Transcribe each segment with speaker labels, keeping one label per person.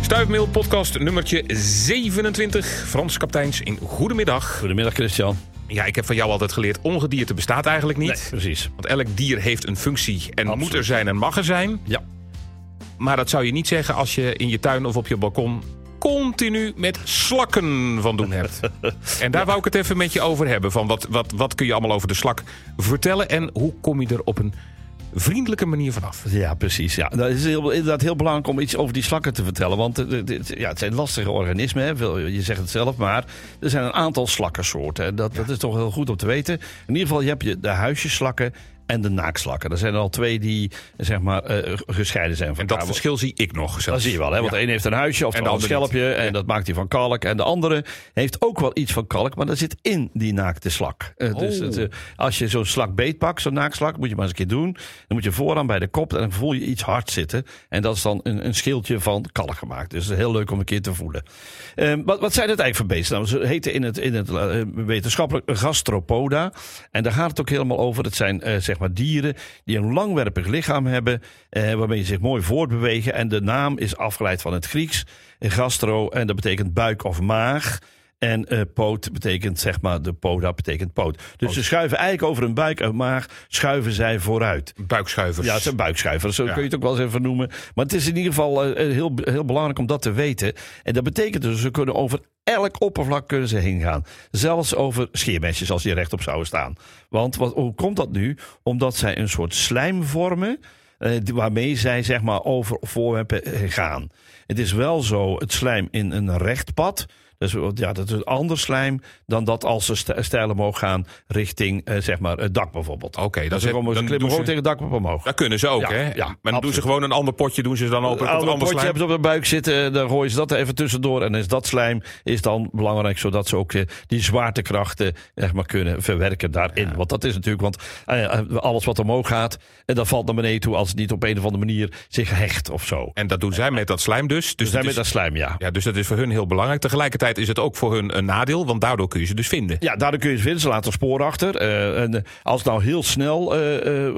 Speaker 1: Stuifmeel, podcast nummertje 27. Frans Kapteins in Goedemiddag.
Speaker 2: Goedemiddag Christian.
Speaker 1: Ja, ik heb van jou altijd geleerd, ongedierte bestaat eigenlijk niet.
Speaker 2: precies.
Speaker 1: Want elk dier heeft een functie en moet er zijn en mag er zijn.
Speaker 2: Ja.
Speaker 1: Maar dat zou je niet zeggen als je in je tuin of op je balkon continu met slakken van doen hebt. en daar wou ik het even met je over hebben. Van wat, wat, wat kun je allemaal over de slak vertellen en hoe kom je er op een vriendelijke manier vanaf?
Speaker 2: Ja, precies. Ja. Dat is heel, inderdaad heel belangrijk om iets over die slakken te vertellen. Want eh, dit- dit- ja, het zijn lastige organismen. Hè. Veel- Je zegt het zelf, maar er zijn een aantal slakkensoorten. hè. Dat, dat is toch heel goed om te weten. In ieder geval, je hebt je de huisjeslakken en de naakslakken. Er zijn er al twee die zeg maar, eh, gescheiden zijn van
Speaker 1: En dat
Speaker 2: elkaar.
Speaker 1: verschil zie ik nog. zelfs.
Speaker 2: Dat Ah, zie je wel, hè? want
Speaker 1: Ja.
Speaker 2: de een heeft een huisje of
Speaker 1: En
Speaker 2: een
Speaker 1: de
Speaker 2: ander
Speaker 1: ander niet.
Speaker 2: schelpje. En dat maakt hij van kalk. En de andere heeft ook wel iets van kalk, maar dat zit in die naakte slak. Eh, Dus
Speaker 1: Oh.
Speaker 2: het, eh, als je zo'n slak beetpakt, zo'n naakslak, moet je maar eens een keer doen. Dan moet je vooraan bij de kop en dan voel je iets hard zitten. En dat is dan een, een schildje van kalk gemaakt. Dus heel leuk om een keer te voelen. Eh, wat, wat zijn het eigenlijk voor beesten? Nou, ze heten in het, in het eh, wetenschappelijk gastropoda. En daar gaat het ook helemaal over. Het zijn eh, zeg maar dieren die een langwerpig lichaam hebben. eh, waarmee ze zich mooi voortbewegen. En de naam is afgeleid van het Grieks. eh, Gastro, en dat betekent buik of maag. En eh, poot betekent, zeg maar, de poda betekent poot. Dus ze schuiven eigenlijk over hun buik en maag, schuiven zij vooruit.
Speaker 1: Buikschuivers.
Speaker 2: Ja, het zijn buikschuivers, zo
Speaker 1: Ja.
Speaker 2: kun je het ook wel eens even noemen. Maar het is in ieder geval eh, eh, heel, heel belangrijk om dat te weten. En dat betekent dus, ze kunnen over elk oppervlak kunnen ze heen gaan. Zelfs over scheermesjes als die rechtop zouden staan. Want wat, hoe komt dat nu? Omdat zij een soort slijm vormen... eh, die- waarmee zij zeg maar over voorwerpen eh, gaan. Het is wel zo, het slijm in een recht pad. Dus eh, ja, dat is een ander slijm dan dat als ze st- stijl omhoog gaan richting eh, zeg maar het dak bijvoorbeeld.
Speaker 1: Oké, dan
Speaker 2: Dus
Speaker 1: zet-
Speaker 2: dan komen ze
Speaker 1: dan
Speaker 2: klimmen
Speaker 1: doen
Speaker 2: gewoon
Speaker 1: ze-
Speaker 2: tegen het dak op omhoog.
Speaker 1: Dat kunnen ze ook,
Speaker 2: Ja,
Speaker 1: hè?
Speaker 2: ja,
Speaker 1: maar dan doen
Speaker 2: absoluut.
Speaker 1: ze gewoon een ander potje, doen ze dan open. komt
Speaker 2: Oude
Speaker 1: er ander
Speaker 2: potje
Speaker 1: slijm.
Speaker 2: hebben ze op de buik zitten, daar gooien ze dat even tussendoor. En is dat slijm is dan belangrijk, zodat ze ook eh, die zwaartekrachten zeg maar, kunnen verwerken daarin. Want dat is natuurlijk, want eh, eh, alles wat omhoog gaat, en dat valt naar beneden toe als het niet op een of andere manier zich hecht of zo.
Speaker 1: En dat doen zij met dat slijm dus. Dus,
Speaker 2: Dus
Speaker 1: dat
Speaker 2: zijn met
Speaker 1: Dus is,
Speaker 2: dat slijm, ja.
Speaker 1: ja, dus dat is voor hun heel belangrijk. Tegelijkertijd is het ook voor hun een nadeel, want daardoor kun je ze dus vinden.
Speaker 2: Ja, daardoor kun je ze vinden. Ze laten spoor achter. Eh, en eh, als het nou heel snel eh, eh, eh,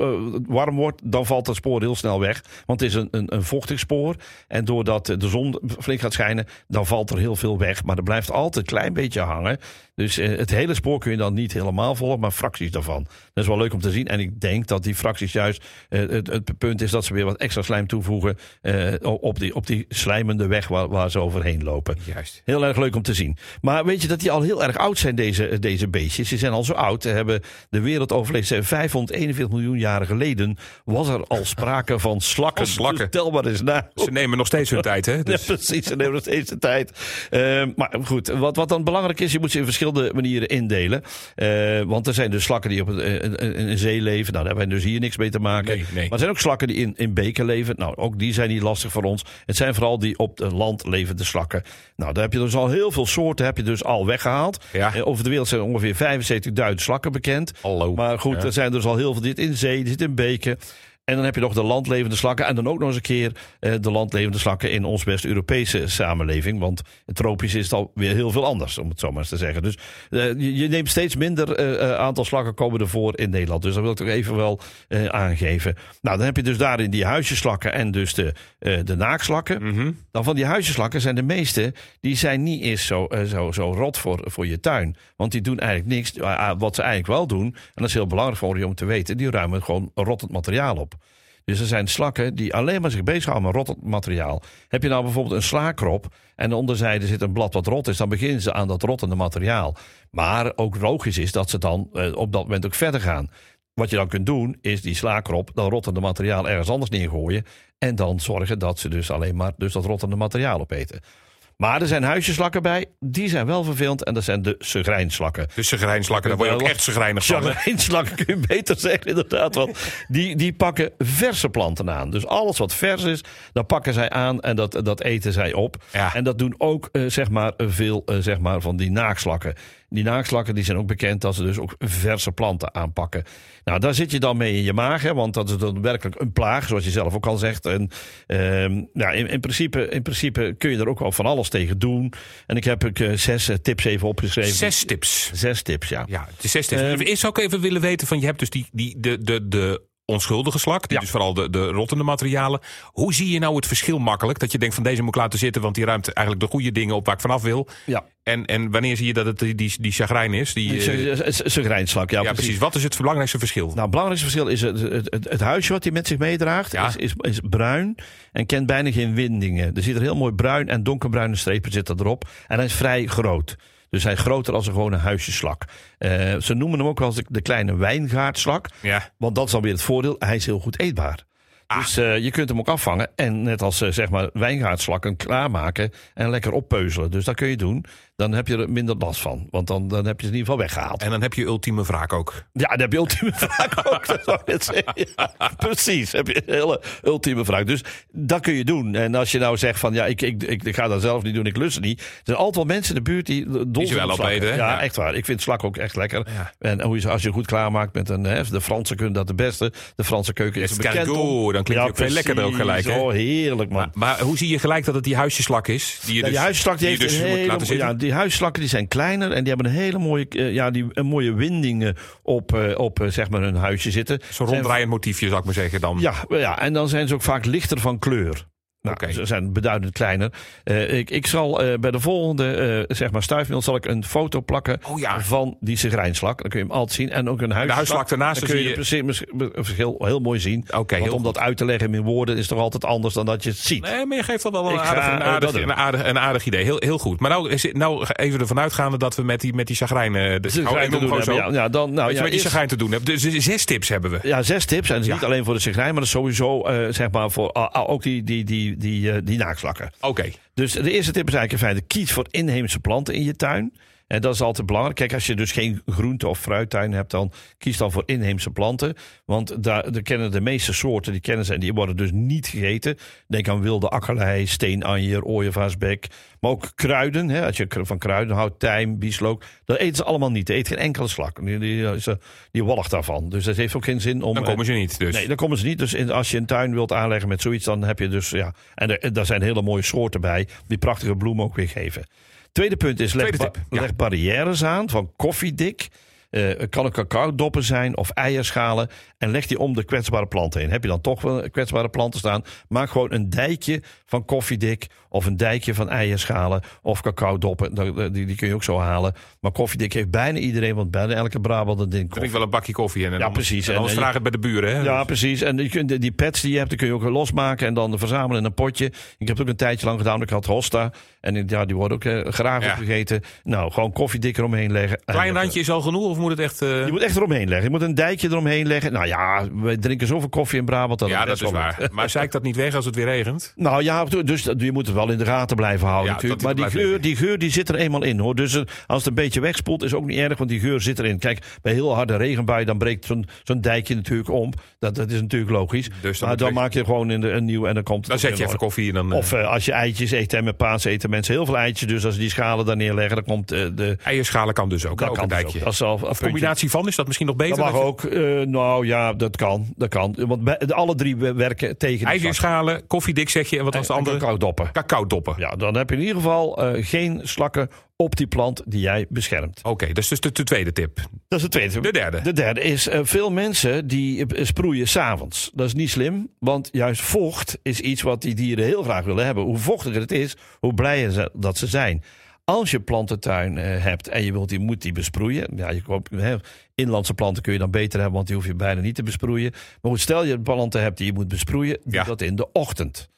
Speaker 2: warm wordt, dan valt dat spoor heel snel weg. Want het is een, een, een vochtig spoor. En doordat eh, de zon flink gaat schijnen, dan valt er heel veel weg. Maar er blijft altijd een klein beetje hangen. Dus eh, het hele spoor kun je dan niet helemaal volgen, maar fracties daarvan. Dat is wel leuk om te zien. En ik denk dat die fracties juist eh, het, het punt is dat ze weer wat extra slijm toevoegen eh, op, die, op die slijmende weg waar, waar ze overheen lopen.
Speaker 1: Juist.
Speaker 2: Heel erg leuk om te zien. Maar weet je dat die al heel erg oud zijn, deze, eh, deze beestjes? Ze zijn al zo oud. Ze hebben de wereld overleefd. Ze hebben 541 miljoen jaren geleden was er al sprake van slakken.
Speaker 1: Van slakken.
Speaker 2: Dus tel maar eens na.
Speaker 1: Ze nemen nog steeds hun tijd, hè? Dus
Speaker 2: Ja, precies, ze nemen nog steeds de tijd. Eh, maar goed, wat, wat dan belangrijk is, je moet ze in verschillende manieren indelen. Eh, want er zijn dus slakken die op een, een, een- een zee leven. Nou, daar hebben wij dus hier niks mee te maken.
Speaker 1: Nee, nee.
Speaker 2: Maar er zijn ook slakken die in, in beken leven. Nou, ook die zijn niet lastig voor ons. Het zijn vooral die op het land levende slakken. Nou, daar heb je dus al heel veel soorten heb je dus al weggehaald.
Speaker 1: Ja.
Speaker 2: Eh, over de wereld zijn ongeveer 75.000 slakken bekend.
Speaker 1: Hallo.
Speaker 2: Maar goed, er zijn dus al heel veel. Dit in zee, dit in beken. En dan heb je nog de landlevende slakken. En dan ook nog eens een keer eh, de landlevende slakken in ons West-Europese samenleving. Want tropisch is het alweer heel veel anders, om het zo maar eens te zeggen. Dus eh, je, je neemt steeds minder eh, eh, aantal slakken komen ervoor in Nederland. Dus dat wil ik toch even wel eh, aangeven. Nou, dan heb je dus daarin die huisjeslakken en dus de, eh, de naakslakken.
Speaker 1: Mhm.
Speaker 2: Dan van die huisjeslakken zijn de meeste, die zijn niet eens zo, eh, zo, zo rot voor, voor je tuin. Want die doen eigenlijk niks. Eh, eh, Wat ze eigenlijk wel doen, en dat is heel belangrijk voor je om te weten, die ruimen gewoon rottend materiaal op. Dus er zijn slakken die alleen maar zich bezighouden met rottend materiaal. Heb je nou bijvoorbeeld een slaakrop en de onderzijde zit een blad wat rot is, dan beginnen ze aan dat rottende materiaal. Maar ook logisch is dat ze dan eh, op dat moment ook verder gaan. Wat je dan kunt doen, is die slaakrop, dat rottende materiaal ergens anders neergooien. En dan zorgen dat ze dus alleen maar dus dat rottende materiaal opeten. Maar er zijn huisjeslakken bij, die zijn wel vervelend. En dat zijn de segrijnslakken.
Speaker 1: de segrijnslakken, Dus daar word je ook echt segrijnig van. hè?
Speaker 2: Chagrijnslakken kun je beter zeggen, inderdaad. Want die, die pakken verse planten aan. Dus alles wat vers is, dat pakken zij aan en dat, dat eten zij op.
Speaker 1: Ja.
Speaker 2: En dat doen ook eh, zeg maar, eh, veel eh, zeg maar, van die naakslakken. Die naakslakken die zijn ook bekend dat ze dus ook verse planten aanpakken. Nou, daar zit je dan mee in je maag, hè, want dat is dan werkelijk een plaag, zoals je zelf ook al zegt. En, ehm, ja, in, in, principe, in principe kun je er ook wel van alles tegen doen. En ik heb ik, eh, zes eh, tips even opgeschreven.
Speaker 1: Zes tips.
Speaker 2: Zes tips, ja. Ehm,
Speaker 1: Ja, de zes tips. Eerst zou ik even willen weten van, je hebt dus die, die, de, de, de onschuldige slak. Dit
Speaker 2: Ja.
Speaker 1: is vooral de, de rottende materialen. Hoe zie je nou het verschil makkelijk? Dat je denkt van deze moet ik laten zitten, want die ruimt eigenlijk de goede dingen op waar ik vanaf wil.
Speaker 2: Ja.
Speaker 1: En, en wanneer zie je dat het die, die, die chagrijn is? Die, eh, ja,
Speaker 2: Zijn grijnslak, ja,
Speaker 1: precies.
Speaker 2: precies.
Speaker 1: Wat is het belangrijkste verschil?
Speaker 2: Nou, het belangrijkste verschil is het, het, het, het huisje wat hij met zich meedraagt.
Speaker 1: Ja.
Speaker 2: Is, is, is bruin en kent bijna geen windingen. Er zit er heel mooi bruin en donkerbruine strepen zitten erop. En hij is vrij groot. Dus hij is groter als een gewone huisjeslak. Eh, ze noemen hem ook wel eens de- de kleine wijngaardslak.
Speaker 1: ja.
Speaker 2: Want dat is dan weer het voordeel. Hij is heel goed eetbaar.
Speaker 1: Ah.
Speaker 2: Dus eh, je kunt hem ook afvangen. En net als eh, zeg maar wijngaardslakken klaarmaken en lekker oppeuzelen. Dus dat kun je doen. Dan heb je er minder last van. Want dan, dan heb je ze in ieder geval weggehaald.
Speaker 1: En dan heb je ultieme wraak ook.
Speaker 2: Ja, dan heb je ultieme wraak ook. Dat zou ik net zeggen. Ja, precies, heb je een hele ultieme wraak. Dus dat kun je doen. En als je nou zegt van ja, ik, ik, ik, ga dat zelf niet doen, ik lust het niet. Er zijn altijd wel mensen in de buurt die dol zijn
Speaker 1: wel
Speaker 2: op
Speaker 1: op
Speaker 2: slakken.
Speaker 1: eten, hè?
Speaker 2: Ja,
Speaker 1: Ja.
Speaker 2: echt waar. Ik vind slak ook echt lekker.
Speaker 1: Ja.
Speaker 2: En hoe je, als je goed klaarmaakt met een... Hè, de Fransen kunnen dat de beste. De Franse keuken is
Speaker 1: Yes,
Speaker 2: er bekend
Speaker 1: Carigo,
Speaker 2: om.
Speaker 1: dan klinkt hij ook veel lekkerder ook
Speaker 2: precies.
Speaker 1: gelijk, hè?
Speaker 2: Oh, heerlijk man.
Speaker 1: Maar, maar hoe zie je gelijk dat het die huisjeslak is? Die je
Speaker 2: Ja,
Speaker 1: dus,
Speaker 2: die huisslak
Speaker 1: je
Speaker 2: die heeft
Speaker 1: dus
Speaker 2: een
Speaker 1: moet
Speaker 2: hele,
Speaker 1: laten zitten?
Speaker 2: ja, die huisslakken die zijn kleiner en die hebben een hele mooie, eh, ja, die, een mooie windingen op, eh, op eh, zeg maar hun huisje zitten.
Speaker 1: Zo'n ronddraaiend motiefje, zou ik maar zeggen dan.
Speaker 2: Ja, maar ja, en dan zijn ze ook vaak lichter van kleur. Nou,
Speaker 1: Oké.
Speaker 2: Ze zijn beduidend kleiner. Eh, ik, ik zal eh, bij de volgende eh, zeg maar stuifmeel zal ik een foto plakken
Speaker 1: Oh ja.
Speaker 2: van die zigrijnslak. Dan kun je hem altijd zien. En ook een huisslak.
Speaker 1: huisslak daarnaast,
Speaker 2: Dan
Speaker 1: dan
Speaker 2: kun je
Speaker 1: zie
Speaker 2: het precies het verschil heel mooi zien.
Speaker 1: Oké,
Speaker 2: Want
Speaker 1: heel
Speaker 2: om dat uit te leggen in woorden is toch altijd anders dan dat je het ziet.
Speaker 1: Nee, maar je geeft dat wel
Speaker 2: Ik
Speaker 1: een aardig,
Speaker 2: ga,
Speaker 1: een,
Speaker 2: eh,
Speaker 1: aardig,
Speaker 2: dat doen.
Speaker 1: een, aardig, een aardig idee. Heel, heel goed. Maar nou, is het- nou even ervan uitgaande dat we met die, met die chagrijnen... Dus,
Speaker 2: Ze
Speaker 1: hou
Speaker 2: zijn
Speaker 1: ik
Speaker 2: te
Speaker 1: noem
Speaker 2: doen
Speaker 1: gewoon zo.
Speaker 2: hebben, ja, ja, dan, nou,
Speaker 1: Weet je
Speaker 2: ja,
Speaker 1: wat je
Speaker 2: eerst-
Speaker 1: chagrijn te doen hebt? Dus zes tips hebben we.
Speaker 2: Ja, zes tips. En dat is
Speaker 1: Ja.
Speaker 2: niet alleen voor de zigrijn, maar dat is sowieso eh, zeg maar voor ah, ah, ook die, die, die, die, eh, die naakslakken.
Speaker 1: Oké.
Speaker 2: Dus de eerste tip is eigenlijk in feite: kies voor inheemse planten in je tuin. En dat is altijd belangrijk. Kijk, als je dus geen groente- of fruittuin hebt, dan kies dan voor inheemse planten. Want daar, daar kennen de meeste soorten, die kennen ze en die worden dus niet gegeten. Denk aan wilde akkerlei, steenanjer, ooievaarsbek. Maar ook kruiden, hè, als je kru- van kruiden houdt, tijm, bieslook. Dat eten ze allemaal niet. Er eet geen enkele slak. Die, die, ze- die walgt daarvan. Dus dat heeft ook geen zin om...
Speaker 1: Dan
Speaker 2: eh,
Speaker 1: komen ze niet. Dus.
Speaker 2: Nee, daar komen ze niet. Dus in- als je een tuin wilt aanleggen met zoiets, dan heb je dus, ja. En er- en daar zijn hele mooie soorten bij, die prachtige bloemen ook weer geven. Tweede punt is: leg,
Speaker 1: Tweede
Speaker 2: ba-
Speaker 1: tip, ja.
Speaker 2: leg barrières aan van koffiedik. Eh kan ook cacaodoppen zijn of eierschalen. En leg die om de kwetsbare planten heen. Heb je dan toch wel kwetsbare planten staan? Maak gewoon een dijkje van koffiedik. Of een dijkje van eierschalen. Of cacaodoppen. Dan- Die, die kun je ook zo halen. Maar koffiedik heeft bijna iedereen. Want bijna elke Brabant een ding
Speaker 1: Drink wel een bakje koffie en, en
Speaker 2: Ja,
Speaker 1: anders-
Speaker 2: precies.
Speaker 1: en
Speaker 2: En-
Speaker 1: anders
Speaker 2: en je-
Speaker 1: vraag het bij de buren. Hè?
Speaker 2: ja, precies. En je kunt, die pads die je hebt, die kun je ook losmaken en dan verzamelen in een potje. Ik heb het ook een tijdje lang gedaan. want Ik had hosta. En die- ja, die worden ook eh, graag
Speaker 1: Ja.
Speaker 2: opgegeten. Nou, gewoon koffiedik eromheen leggen.
Speaker 1: Klein
Speaker 2: En-
Speaker 1: randje is al genoeg of moet het echt... eh,
Speaker 2: Je moet echt eromheen leggen. Je moet een dijkje eromheen leggen. Nou ja, we drinken zoveel koffie in Brabant.
Speaker 1: ja, dat
Speaker 2: best
Speaker 1: is
Speaker 2: wel
Speaker 1: waar. Maar zei ik dat niet weg als het weer regent?
Speaker 2: nou ja, dus dat- je moet het wel in de gaten blijven houden
Speaker 1: Ja,
Speaker 2: natuurlijk. Maar
Speaker 1: dat die
Speaker 2: die
Speaker 1: er
Speaker 2: geur,
Speaker 1: blijft
Speaker 2: die geur die zit er eenmaal in hoor. Dus eh, als het een beetje wegspoelt is ook niet erg, want die geur zit erin. Kijk, bij heel harde regenbuien dan breekt zo'n zo'n dijkje natuurlijk om. Dat, dat is natuurlijk logisch.
Speaker 1: Dus dan
Speaker 2: maar
Speaker 1: moet
Speaker 2: dan
Speaker 1: je-
Speaker 2: maak je gewoon in de, een nieuw en dan komt het
Speaker 1: Dan
Speaker 2: ook
Speaker 1: zet je
Speaker 2: weer
Speaker 1: even
Speaker 2: mooi.
Speaker 1: koffie en dan... eh,
Speaker 2: Of eh, als je eitjes eet en met paas eten mensen heel veel eitjes. Dus als ze die schalen daar neerleggen, dan komt eh, de...
Speaker 1: eierschalen kan dus ook.
Speaker 2: Dat
Speaker 1: ook
Speaker 2: kan
Speaker 1: een
Speaker 2: dus
Speaker 1: dijkje.
Speaker 2: ook. Dat is al een
Speaker 1: Of
Speaker 2: puntje.
Speaker 1: combinatie van, is dat misschien nog beter?
Speaker 2: Dat mag
Speaker 1: je-
Speaker 2: ook. Eh, nou ja, dat kan. Dat kan. Want bij- de- alle drie we- werken tegen de slak.
Speaker 1: Eierschalen, koffiedik zeg je. En wat was de
Speaker 2: En
Speaker 1: andere?
Speaker 2: kakaodoppen.
Speaker 1: Cacao doppen.
Speaker 2: Ja, dan heb je in ieder geval eh, geen slakken op die plant die jij beschermt.
Speaker 1: Oké, dat is dus de, de tweede tip.
Speaker 2: Dat is de tweede.
Speaker 1: De derde.
Speaker 2: De derde is, eh, veel mensen die eh, sproeien s'avonds. Dat is niet slim, want juist vocht is iets wat die dieren heel graag willen hebben. Hoe vochtiger het is, hoe blijer ze, dat ze zijn. Als je plantentuin eh, hebt en je wilt die, moet die besproeien. Ja, je koopt, hè, inlandse planten kun je dan beter hebben, want die hoef je bijna niet te besproeien. Maar goed, stel je planten hebt die je moet besproeien, doe
Speaker 1: Ja.
Speaker 2: dat in de ochtend.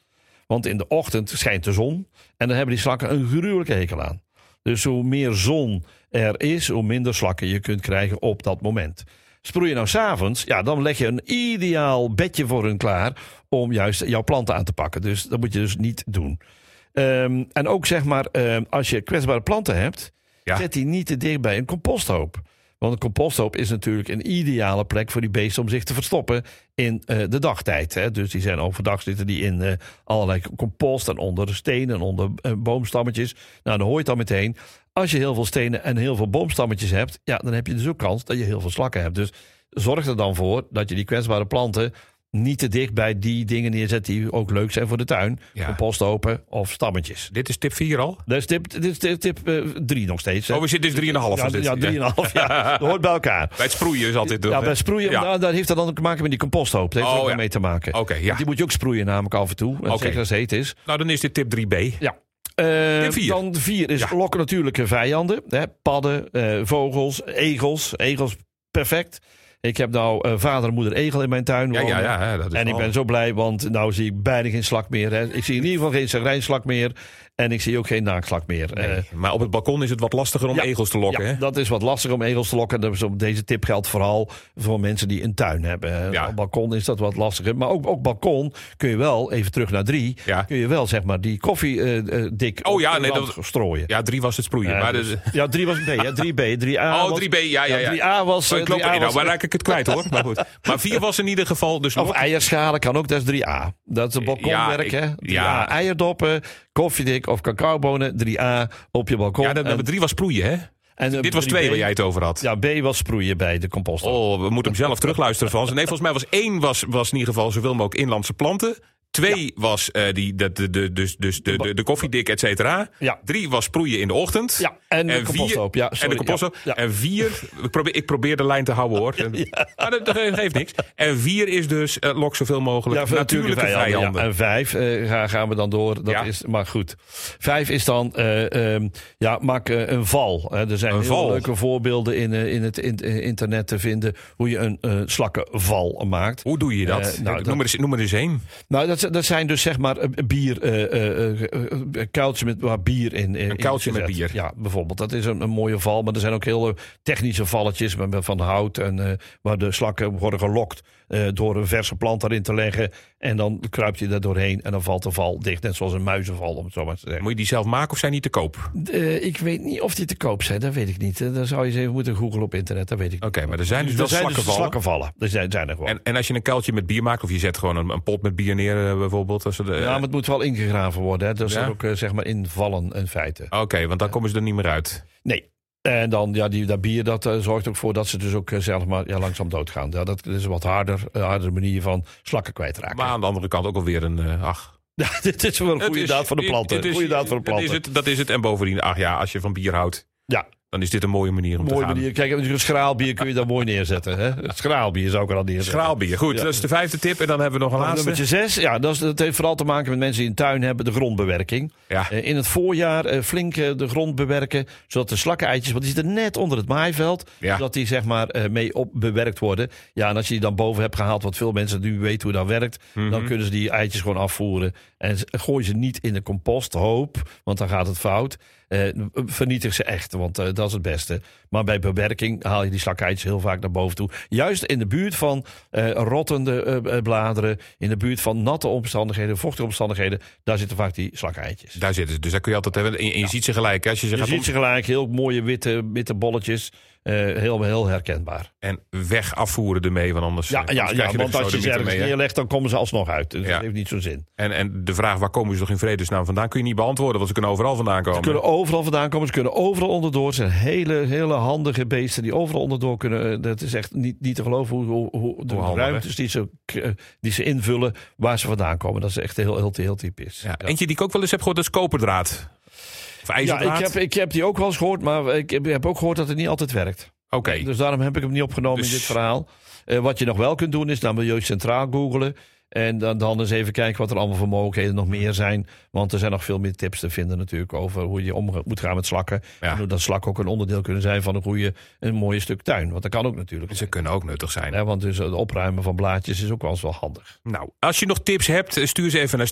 Speaker 2: Want in de ochtend schijnt de zon. En dan hebben die slakken een gruwelijke hekel aan. Dus hoe meer zon er is, hoe minder slakken je kunt krijgen op dat moment. Sproei je nou s'avonds, ja, dan leg je een ideaal bedje voor hun klaar. om juist jouw planten aan te pakken. Dus dat moet je dus niet doen. Ehm, en ook zeg maar, ehm, als je kwetsbare planten hebt,
Speaker 1: Ja.
Speaker 2: zet die niet te dicht bij een composthoop. Want een composthoop is natuurlijk een ideale plek voor die beesten om zich te verstoppen in eh, de dagtijd. Hè. Dus die zijn overdag zitten die in eh, allerlei compost en onder stenen en onder eh, boomstammetjes. Nou, dan hoor je het dan meteen. Als je heel veel stenen en heel veel boomstammetjes hebt, ja, dan heb je dus ook kans dat je heel veel slakken hebt. Dus zorg er dan voor dat je die kwetsbare planten niet te dicht bij die dingen neerzet die ook leuk zijn voor de tuin.
Speaker 1: Ja.
Speaker 2: Composthopen of stammetjes.
Speaker 1: Dit is tip 4 al.
Speaker 2: Dat is tip 3 dit is tip, tip, eh, drie nog steeds. hè?
Speaker 1: Oh, we zitten dus 3,5.
Speaker 2: ja,
Speaker 1: was dit.
Speaker 2: ja, 3,5 jaar. Dat hoort bij elkaar.
Speaker 1: Bij het sproeien is altijd...
Speaker 2: Ja,
Speaker 1: dat, hè?
Speaker 2: bij sproeien,
Speaker 1: Ja.
Speaker 2: nou, daar heeft dat dan te maken met die composthoop. Dat heeft
Speaker 1: Oh,
Speaker 2: er ook wel
Speaker 1: ja.
Speaker 2: mee te maken.
Speaker 1: Oké, ja.
Speaker 2: Want Die moet je ook sproeien namelijk af en toe. en
Speaker 1: Oké.
Speaker 2: Zeker als het heet is.
Speaker 1: Nou, dan is dit tip 3b.
Speaker 2: Ja. Eh,
Speaker 1: Tip vier.
Speaker 2: Dan vier is
Speaker 1: Ja.
Speaker 2: lokken natuurlijke vijanden. Hè, padden, eh, vogels, egels. Egels, perfect. Ik heb nou eh, vader en moeder egel in mijn tuin
Speaker 1: Ja, ja,
Speaker 2: wonen.
Speaker 1: ja. hè, dat is
Speaker 2: En ik
Speaker 1: wel-
Speaker 2: ben zo blij, want nou zie ik bijna geen slak meer. Hè. Ik zie in ieder geval geen zagrijnslak meer. En ik zie ook geen naakslak meer. Eh,
Speaker 1: Nee, maar op het balkon is het wat lastiger om
Speaker 2: ja,
Speaker 1: egels te lokken,
Speaker 2: ja,
Speaker 1: hè?
Speaker 2: dat is wat lastig om egels te lokken. Dat is op- Deze tip geldt vooral voor mensen die een tuin hebben. hè.
Speaker 1: Ja.
Speaker 2: Op balkon is dat wat lastiger. Maar ook, ook balkon kun je wel, even terug naar drie...
Speaker 1: Ja.
Speaker 2: kun je wel zeg maar die koffie eh, eh, dik
Speaker 1: Oh
Speaker 2: op
Speaker 1: ja,
Speaker 2: de
Speaker 1: nee,
Speaker 2: wand
Speaker 1: dat-
Speaker 2: strooien.
Speaker 1: Ja, 3 was het sproeien.
Speaker 2: Ja,
Speaker 1: maar
Speaker 2: dus-
Speaker 1: dus-
Speaker 2: ja, 3 was B, hè? 3B. 3A
Speaker 1: Oh,
Speaker 2: was,
Speaker 1: 3b, ja, ja, ja.
Speaker 2: 3A was...
Speaker 1: Oh,
Speaker 2: eh,
Speaker 1: ik loop
Speaker 2: 3A
Speaker 1: erin. nou,
Speaker 2: was-
Speaker 1: waar raak ik het kwijt, hoor. Maar goed. Maar 4 was in ieder geval... Dus
Speaker 2: of
Speaker 1: nog-
Speaker 2: eierschalen kan ook, dat is 3A. Dat is een balkonwerk,
Speaker 1: ik-
Speaker 2: hè? 3A.
Speaker 1: ja.
Speaker 2: Eierdoppen, koffiedik of cacaobonen, 3A op je balkon.
Speaker 1: ja, dat-
Speaker 2: En-
Speaker 1: dat 3 was sproeien, hè?
Speaker 2: en, eh,
Speaker 1: Dit was
Speaker 2: 3B
Speaker 1: 2 waar jij het over had.
Speaker 2: Ja, B was sproeien bij de compost.
Speaker 1: Oh, we moeten hem zelf terugluisteren van ze. Nee, volgens mij was één was, was in ieder geval zoveel mogelijk inlandse planten. Twee was eh, die, dat de, de, dus, dus de, de, de koffiedik, et cetera.
Speaker 2: Ja.
Speaker 1: Drie was sproeien in de ochtend.
Speaker 2: Ja, en de composthoop, ja, sorry,
Speaker 1: en de composthoop.
Speaker 2: ja, ja.
Speaker 1: En vier, ik probeer, ik probeer de lijn te houden hoor. Maar dat, dat geeft niks. En vier is dus eh, lok zoveel mogelijk
Speaker 2: Ja,
Speaker 1: natuurlijke vijanden.
Speaker 2: ja. En vijf eh, ga- gaan we dan door. Dat
Speaker 1: Ja.
Speaker 2: is, maar goed. Vijf is dan, eh, ehm, ja, maak eh, een val. hè. er zijn
Speaker 1: Een
Speaker 2: heel
Speaker 1: val.
Speaker 2: leuke voorbeelden in, eh, in het in- eh, internet te vinden hoe je een eh, slakkenval maakt.
Speaker 1: Hoe doe je dat?
Speaker 2: Eh, nou,
Speaker 1: noem,
Speaker 2: dat-
Speaker 1: er eens, noem er eens één.
Speaker 2: Nou, dat, zi- dat zijn dus zeg maar eh, bier, eh, eh, eh, eh, eh, kuiltje met waar bier in. eh, in
Speaker 1: kuiltje
Speaker 2: is
Speaker 1: met
Speaker 2: gezet.
Speaker 1: bier.
Speaker 2: Ja, bijvoorbeeld. Dat is een, een mooie val. Maar er zijn ook hele technische valletjes met- met van hout en eh, waar de slakken worden gelokt eh, door een verse plant daarin te leggen. En dan kruipt je daar doorheen en dan valt de val dicht. Net zoals een muizenval, om het zo maar te zeggen.
Speaker 1: Moet je die zelf maken of zijn die te koop? Oké,
Speaker 2: Eh, ik weet niet of die te koop zijn, dat weet ik niet. Eh, Daar zou je eens even moeten googlen op internet, dat weet ik niet.
Speaker 1: maar er zijn dus wel
Speaker 2: er zijn
Speaker 1: slakkenvallen.
Speaker 2: dus slakkenvallen. Er zijn, zijn er gewoon.
Speaker 1: En, en als je een kuiltje met bier maakt, of je zet gewoon een, een pot met bier neer, eh, bijvoorbeeld. Als ze de,
Speaker 2: ja, maar het moet wel ingegraven worden. Hè. Dat
Speaker 1: Ja?
Speaker 2: zijn ook eh, zeg maar invallen in feite.
Speaker 1: Oké, want dan komen ze er niet meer uit.
Speaker 2: Nee. En dan, ja, die, dat bier dat, eh, zorgt ook voor dat ze dus ook eh, zelf maar ja, langzaam doodgaan. Ja, dat is een wat harder, eh, hardere manier van slakken kwijtraken.
Speaker 1: Maar aan de andere kant ook alweer een. eh, ach.
Speaker 2: Ja, dit is wel een
Speaker 1: Het
Speaker 2: goede
Speaker 1: is-
Speaker 2: daad voor de
Speaker 1: het
Speaker 2: planten.
Speaker 1: is-
Speaker 2: Goede daad voor
Speaker 1: dat
Speaker 2: de planten.
Speaker 1: Is het, dat is het. En bovendien, ach ja, als je van bier houdt,
Speaker 2: Ja,
Speaker 1: dan is dit een mooie manier om
Speaker 2: mooie
Speaker 1: te gaan.
Speaker 2: manier. Kijk, een schraalbier kun je daar mooi neerzetten. Hè? Het Schraalbier zou ik er al neerzetten.
Speaker 1: Schraalbier. Goed,
Speaker 2: Ja.
Speaker 1: dat is de vijfde tip. En dan hebben we nog een
Speaker 2: Nou,
Speaker 1: laatste.
Speaker 2: Nummertje 6, ja, dat, is, dat heeft vooral te maken met mensen die een tuin hebben, de grondbewerking.
Speaker 1: Ja.
Speaker 2: Eh, in het voorjaar eh, flink eh, de grond bewerken, zodat de slakkeneitjes, want die zitten net onder het maaiveld,
Speaker 1: Ja.
Speaker 2: zodat die zeg maar eh, mee opbewerkt worden. Ja, en als je die dan boven hebt gehaald, wat veel mensen nu weten hoe dat werkt,
Speaker 1: Mhm.
Speaker 2: dan kunnen ze die eitjes gewoon afvoeren. En z- gooi ze niet in de composthoop, want dan gaat het fout. Eh, vernietig ze echt, want eh, dat is het beste. Maar bij bewerking haal je die slakkeitjes heel vaak naar boven toe. Juist in de buurt van eh, rottende eh, eh, bladeren, in de buurt van natte omstandigheden, vochtige omstandigheden, daar zitten vaak die slakkeitjes.
Speaker 1: Daar zitten ze. Dus daar kun je altijd hebben. En, en je ziet ze gelijk. hè, Als je ze
Speaker 2: Je
Speaker 1: gaat
Speaker 2: ziet
Speaker 1: om-
Speaker 2: ze gelijk, heel mooie witte, witte bolletjes, eh, heel, heel herkenbaar.
Speaker 1: En weg afvoeren ermee, want anders.
Speaker 2: Ja,
Speaker 1: eh,
Speaker 2: ja,
Speaker 1: anders
Speaker 2: ja
Speaker 1: krijg
Speaker 2: want
Speaker 1: er
Speaker 2: als je ze
Speaker 1: sodemieten
Speaker 2: ergens
Speaker 1: hè.
Speaker 2: neerlegt, dan komen ze alsnog uit. Dus
Speaker 1: Ja.
Speaker 2: dat heeft niet zo'n zin.
Speaker 1: en, en de vraag waar komen ze toch in vredesnaam vandaan, kun je niet beantwoorden, want ze kunnen overal vandaan komen.
Speaker 2: Ze kunnen overal vandaan komen, ze kunnen overal onderdoor. Het zijn hele, hele handige beesten die overal onderdoor kunnen. Eh, Dat is echt niet, niet te geloven hoe, hoe, hoe de
Speaker 1: Hoe handig,
Speaker 2: ruimtes die ze, k- eh, die ze invullen, waar ze vandaan komen. Dat is echt heel, heel, heel typisch.
Speaker 1: Ja, Eentje die ik ook wel eens heb gehoord, dat is koperdraad. Of
Speaker 2: Ja,
Speaker 1: ijzerdraad.
Speaker 2: ik, heb, ik heb die ook wel eens gehoord, maar ik heb- heb ook gehoord dat het niet altijd werkt.
Speaker 1: Oké,
Speaker 2: Dus daarom heb ik hem niet opgenomen
Speaker 1: Dus-
Speaker 2: in dit verhaal. Eh, wat je nog wel kunt doen is naar Milieu Centraal googlen. En dan, dan eens even kijken wat er allemaal voor mogelijkheden nog meer zijn. Want er zijn nog veel meer tips te vinden natuurlijk over hoe je om moet gaan met slakken.
Speaker 1: Ja.
Speaker 2: En hoe dat slakken ook een onderdeel kunnen zijn van een goede, een mooie stuk tuin. Want dat kan ook natuurlijk.
Speaker 1: ze kunnen ook nuttig zijn.
Speaker 2: Hè, want dus het opruimen van blaadjes is ook wel eens wel handig.
Speaker 1: Nou, als je nog tips hebt, eh, stuur ze even naar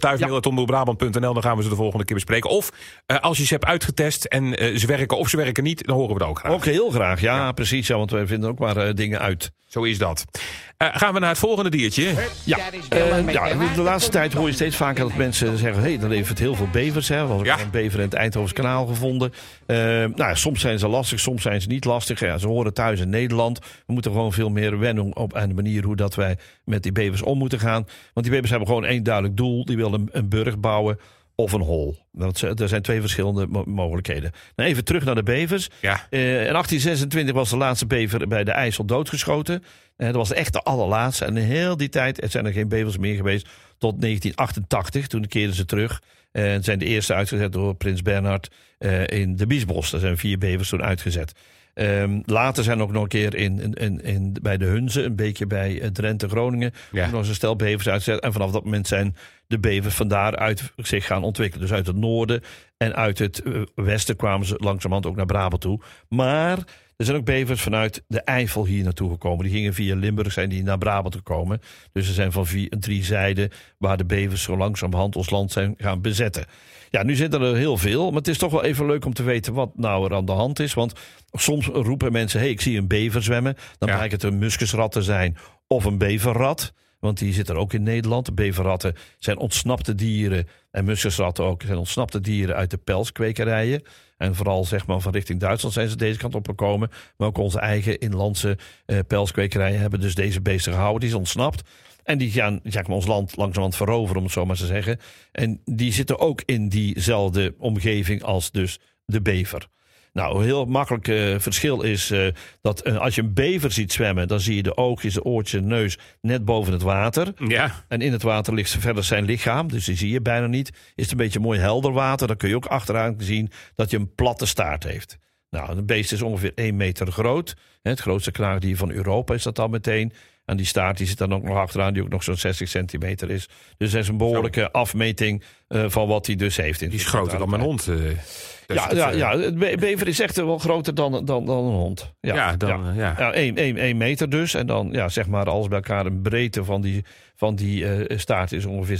Speaker 1: stuifmail.omroepbrabant.nl. Dan gaan we ze de volgende keer bespreken. Of eh, als je ze hebt uitgetest en eh, ze werken of ze werken niet, dan horen we dat ook graag.
Speaker 2: Ook heel graag, ja, precies. Ja, want wij vinden ook maar eh, dingen uit.
Speaker 1: Zo is dat. Eh, gaan we naar het volgende diertje.
Speaker 2: Ja, eh, ja de, de laatste tijd hoor je steeds vaker dat mensen zeggen... hé, hey, er levert heel veel bevers. Hè. Er was ook
Speaker 1: Ja.
Speaker 2: een bever in het Eindhovense kanaal gevonden. Eh, nou, ja, soms zijn ze lastig, soms zijn ze niet lastig. Ja, ze horen thuis in Nederland. We moeten gewoon veel meer wennen op, aan de manier... hoe dat wij met die bevers om moeten gaan. Want die bevers hebben gewoon één duidelijk doel. Die willen een, een burg bouwen of een hol. Dat, z- er zijn twee verschillende mo- mogelijkheden. Nou, even terug naar de bevers.
Speaker 1: Ja.
Speaker 2: Eh, in 1826 was de laatste bever bij de IJssel doodgeschoten. Eh, dat was echt de allerlaatste. En in heel die tijd er zijn er geen bevers meer geweest tot 1988. Toen keerden ze terug. Eh, en zijn de eerste uitgezet door prins Bernhard eh, in de Biesbos. Er zijn vier bevers toen uitgezet. Ehm, later zijn ook nog een keer in, in, in, in- bij de Hunze, een beetje bij eh, Drenthe, Groningen,
Speaker 1: Ja.
Speaker 2: ook nog eens een stel bevers uitgezet. En vanaf dat moment zijn de bevers vandaar uit zich gaan ontwikkelen. Dus uit het noorden en uit het eh, westen kwamen ze langzamerhand ook naar Brabant toe. Maar er zijn ook bevers vanuit de Eifel hier naartoe gekomen. Die gingen via Limburg, zijn die naar Brabant gekomen. Dus er zijn van vier, drie zijden waar de bevers zo langzamerhand ons land zijn gaan bezetten. Ja, nu zitten er heel veel, maar het is toch wel even leuk om te weten wat nou er aan de hand is. Want soms roepen mensen, hé, hey, ik zie een bever zwemmen. Dan
Speaker 1: Ja.
Speaker 2: blijkt het een muskusrat te zijn of een beverrat. Want die zit er ook in Nederland. Beverratten zijn ontsnapte dieren. En muskusratten ook zijn ontsnapte dieren uit de pelskwekerijen. En vooral zeg maar, van richting Duitsland zijn ze deze kant opgekomen. Maar ook onze eigen inlandse eh, pelskwekerijen hebben dus deze beesten gehouden. Die is ontsnapt. En die gaan zeg maar, ons land langzamerhand veroveren, om het zo maar te zeggen. En die zitten ook in diezelfde omgeving als dus de bever. Nou, een heel makkelijk eh, verschil is eh, dat eh, als je een bever ziet zwemmen, dan zie je de oogjes, de oortjes, de neus net boven het water.
Speaker 1: Ja.
Speaker 2: En in het water ligt verder zijn lichaam, dus die zie je bijna niet. Is het een beetje mooi helder water, dan kun je ook achteraan zien dat je een platte staart heeft. Nou, een beest is ongeveer 1 meter groot. Hè, Het grootste knaagdier van Europa is dat dan meteen. En die staart die zit dan ook nog achteraan, die ook nog zo'n 60 centimeter is. Dus dat is een behoorlijke afmeting eh, van wat hij dus heeft. in
Speaker 1: Die is
Speaker 2: zijn
Speaker 1: groter dan mijn
Speaker 2: totaliteit.
Speaker 1: hond. eh. Dus
Speaker 2: Ja,
Speaker 1: dat,
Speaker 2: ja,
Speaker 1: eh,
Speaker 2: ja, het be- bever is echt wel groter dan, dan, dan een hond. Ja,
Speaker 1: Ja, dan, eh, ja.
Speaker 2: ja, 1, meter dus. En dan ja, zeg maar alles bij elkaar een breedte van die, van die eh, staart is ongeveer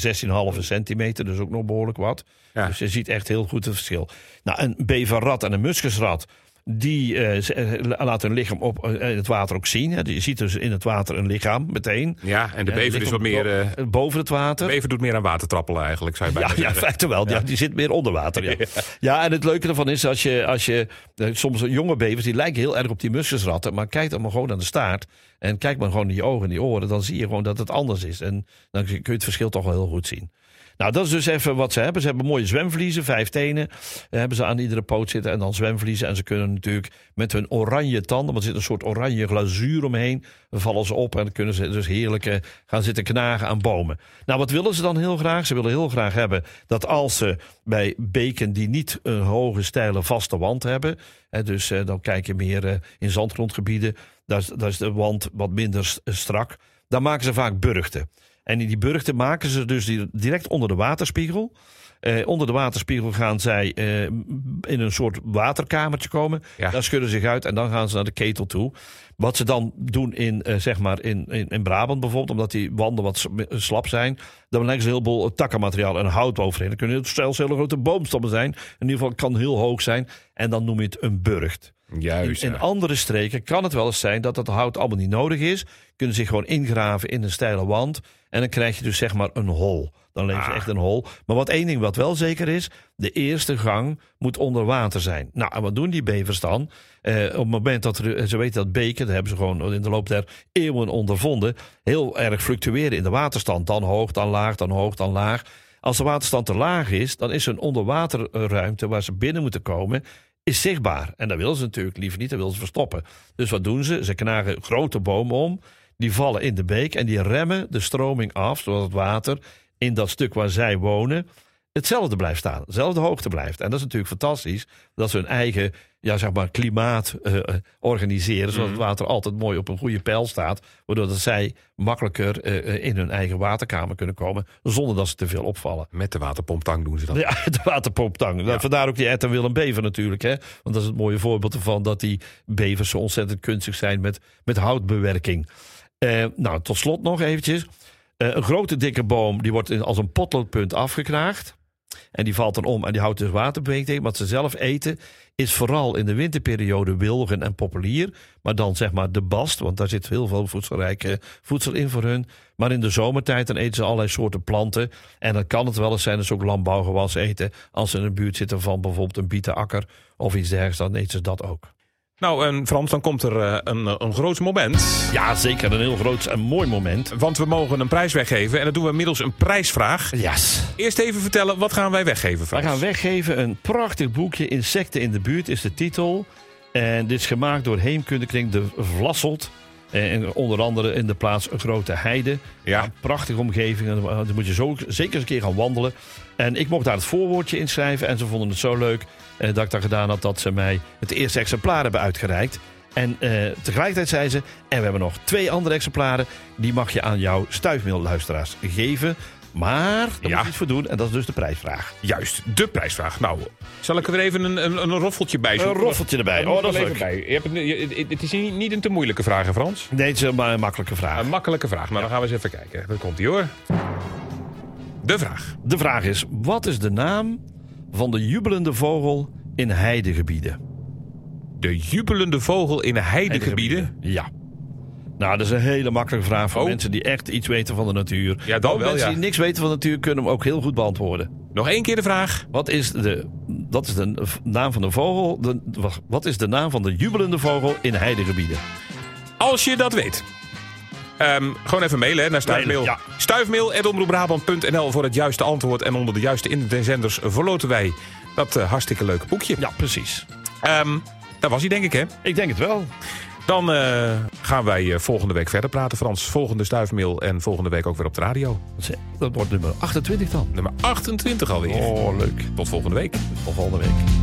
Speaker 2: 16,5 centimeter. Dus ook nog behoorlijk wat.
Speaker 1: Ja.
Speaker 2: Dus je ziet echt heel goed het verschil. Nou, een beverrat en een muskusrat. Die eh, ze- eh, la- laten hun lichaam op, eh, in het water ook zien. Hè. Je ziet dus in het water een lichaam meteen.
Speaker 1: Ja, en de
Speaker 2: Eh,
Speaker 1: bever is
Speaker 2: lichaam
Speaker 1: wat meer... eh,
Speaker 2: bo- boven het water.
Speaker 1: de bever doet meer aan watertrappelen eigenlijk, zou je
Speaker 2: Ja,
Speaker 1: bijna
Speaker 2: ja, in
Speaker 1: zeggen.
Speaker 2: feite wel. Ja. die zit meer onder water. Ja. ja, en het leuke ervan is als je, als je eh, soms jonge bevers die lijken heel erg op die muskusratten, maar kijk dan maar gewoon naar de staart en kijk maar gewoon in je ogen en die oren, dan zie je gewoon dat het anders is. En dan kun je het verschil toch wel heel goed zien. Nou, dat is dus even wat ze hebben. Ze hebben mooie zwemvliezen, vijf tenen. eh, Hebben ze aan iedere poot zitten en dan zwemvliezen. En ze kunnen natuurlijk met hun oranje tanden, want er zit een soort oranje glazuur omheen, dan vallen ze op en dan kunnen ze dus heerlijk eh, gaan zitten knagen aan bomen. Nou, wat willen ze dan heel graag? Ze willen heel graag hebben dat als ze bij beken die niet een hoge, steile, vaste wand hebben, hè, dus eh, dan kijk je meer eh, in zandgrondgebieden, daar is, daar is de wand wat minder s- eh, strak, dan maken ze vaak burchten. En in die burchten maken ze dus die- direct onder de waterspiegel. Eh, onder de waterspiegel gaan zij eh, in een soort waterkamertje komen.
Speaker 1: Ja.
Speaker 2: Daar schudden ze zich uit en dan gaan ze naar de ketel toe. Wat ze dan doen in, eh, zeg maar in, in, in Brabant bijvoorbeeld, omdat die wanden wat s- slap zijn, dan leggen ze een heleboel eh, takkenmateriaal en hout overheen. Dan kunnen heel- zelfs hele grote boomstammen zijn. In ieder geval kan heel hoog zijn. En dan noem je het een burcht.
Speaker 1: Juist,
Speaker 2: In
Speaker 1: ja.
Speaker 2: andere streken kan het wel eens zijn dat dat hout allemaal niet nodig is. Kunnen zich gewoon ingraven in een steile wand. En dan krijg je dus zeg maar een hol. Dan leef je
Speaker 1: Ah.
Speaker 2: echt een hol. Maar wat één ding wat wel zeker is, de eerste gang moet onder water zijn. Nou, en wat doen die bevers dan? Eh, op het moment dat er, ze weten dat beken, dat hebben ze gewoon in de loop der eeuwen ondervonden, heel erg fluctueren in de waterstand. Dan hoog, dan laag, dan hoog, dan laag. Als de waterstand te laag is, dan is hun onderwaterruimte waar ze binnen moeten komen, is zichtbaar. En dat willen ze natuurlijk liever niet, dat willen ze verstoppen. Dus wat doen ze? Ze knagen grote bomen om, die vallen in de beek en die remmen de stroming af, zodat het water in dat stuk waar zij wonen hetzelfde blijft staan, dezelfde hoogte blijft. En dat is natuurlijk fantastisch, dat ze hun eigen ja, zeg maar, klimaat eh, eh, organiseren, zodat het water altijd mooi op een goede pijl staat, waardoor dat zij makkelijker eh, eh, in hun eigen waterkamer kunnen komen, zonder dat ze te veel opvallen.
Speaker 1: Met de waterpomptang doen ze dat.
Speaker 2: Ja, de waterpomptang. Nou, Vandaar ook die Ed en Willem Bever natuurlijk. Hè? Want dat is het mooie voorbeeld ervan dat die bevers zo ontzettend kunstig zijn met, met houtbewerking. Eh, nou, tot slot nog eventjes. Eh, een grote dikke boom, die wordt in- als een potloodpunt afgekraagd. En die valt dan om en die houdt dus waterbeek tegen. Wat ze zelf eten is vooral in de winterperiode wilgen en populier. Maar dan zeg maar de bast, want daar zit heel veel voedselrijke voedsel in voor hun. Maar in de zomertijd dan eten ze allerlei soorten planten. En dan kan het wel eens zijn dat ze ook landbouwgewas eten. Als ze in de buurt zitten van bijvoorbeeld een bietenakker of iets dergelijks, dan eten ze dat ook.
Speaker 1: Nou, en Frans, dan komt er eh, een, een groot moment.
Speaker 2: Ja, zeker. Een heel groot en mooi moment.
Speaker 1: Want we mogen een prijs weggeven. En dat doen we middels een prijsvraag.
Speaker 2: Yes.
Speaker 1: Eerst even vertellen, wat gaan wij weggeven,
Speaker 2: We
Speaker 1: Frans?
Speaker 2: gaan weggeven een prachtig boekje. Insecten in de buurt is de titel. En dit is gemaakt door Heemkundekring de Vlasselt. Eh, En onder andere in de plaats Grote Heide.
Speaker 1: Ja.
Speaker 2: Prachtige omgeving. En Dan moet je zo, zeker eens een keer gaan wandelen. En ik mocht daar het voorwoordje inschrijven. En ze vonden het zo leuk eh, dat ik dat gedaan had. Dat ze mij het eerste exemplaar hebben uitgereikt. En eh, tegelijkertijd zei ze. En we hebben nog twee andere exemplaren. Die mag je aan jouw stuifmeelluisteraars geven. Maar daar
Speaker 1: Ja.
Speaker 2: moet je iets voor doen. En dat is dus de prijsvraag.
Speaker 1: Juist, de prijsvraag. Nou, zal ik er even een, een, een roffeltje bij
Speaker 2: Een
Speaker 1: zoeken?
Speaker 2: roffeltje erbij. Oh, dat is
Speaker 1: even
Speaker 2: leuk.
Speaker 1: bij. Je hebt het, nu- je- het is niet, niet een te moeilijke vraag, hè, Frans?
Speaker 2: Nee, het is een ma- een makkelijke vraag.
Speaker 1: Een makkelijke vraag. Nou, dan gaan we eens even kijken. Daar komt ie hoor. De vraag.
Speaker 2: De vraag is: wat is de naam van de jubelende vogel in heidegebieden?
Speaker 1: De jubelende vogel in heidegebieden.
Speaker 2: Ja. Nou, dat is een hele makkelijke vraag voor
Speaker 1: Oh.
Speaker 2: mensen die echt iets weten van de natuur.
Speaker 1: Ja, dan
Speaker 2: Ook
Speaker 1: wel,
Speaker 2: mensen
Speaker 1: ja.
Speaker 2: die niks weten van de natuur kunnen hem ook heel goed beantwoorden.
Speaker 1: Nog één keer de vraag.
Speaker 2: Wat is de, dat is de v- naam van de vogel? De, wacht, wat is de naam van de jubelende vogel in heidegebieden?
Speaker 1: Als je dat weet. Ehm, gewoon even mailen hè, naar stuifmail.
Speaker 2: Mailen,
Speaker 1: Stuifmail.omroepbrabant.nl voor het juiste antwoord. En onder de juiste inzenders verloten wij dat eh, hartstikke leuke boekje.
Speaker 2: Ja, precies.
Speaker 1: Ehm, dat was hij denk ik hè.
Speaker 2: Ik denk het wel.
Speaker 1: Dan eh, gaan wij eh, volgende week verder praten Frans. Volgende stuifmail en volgende week ook weer op de radio.
Speaker 2: Dat wordt nummer 28 dan.
Speaker 1: Nummer 28 alweer.
Speaker 2: Oh, leuk.
Speaker 1: Tot volgende week.
Speaker 2: Tot volgende week.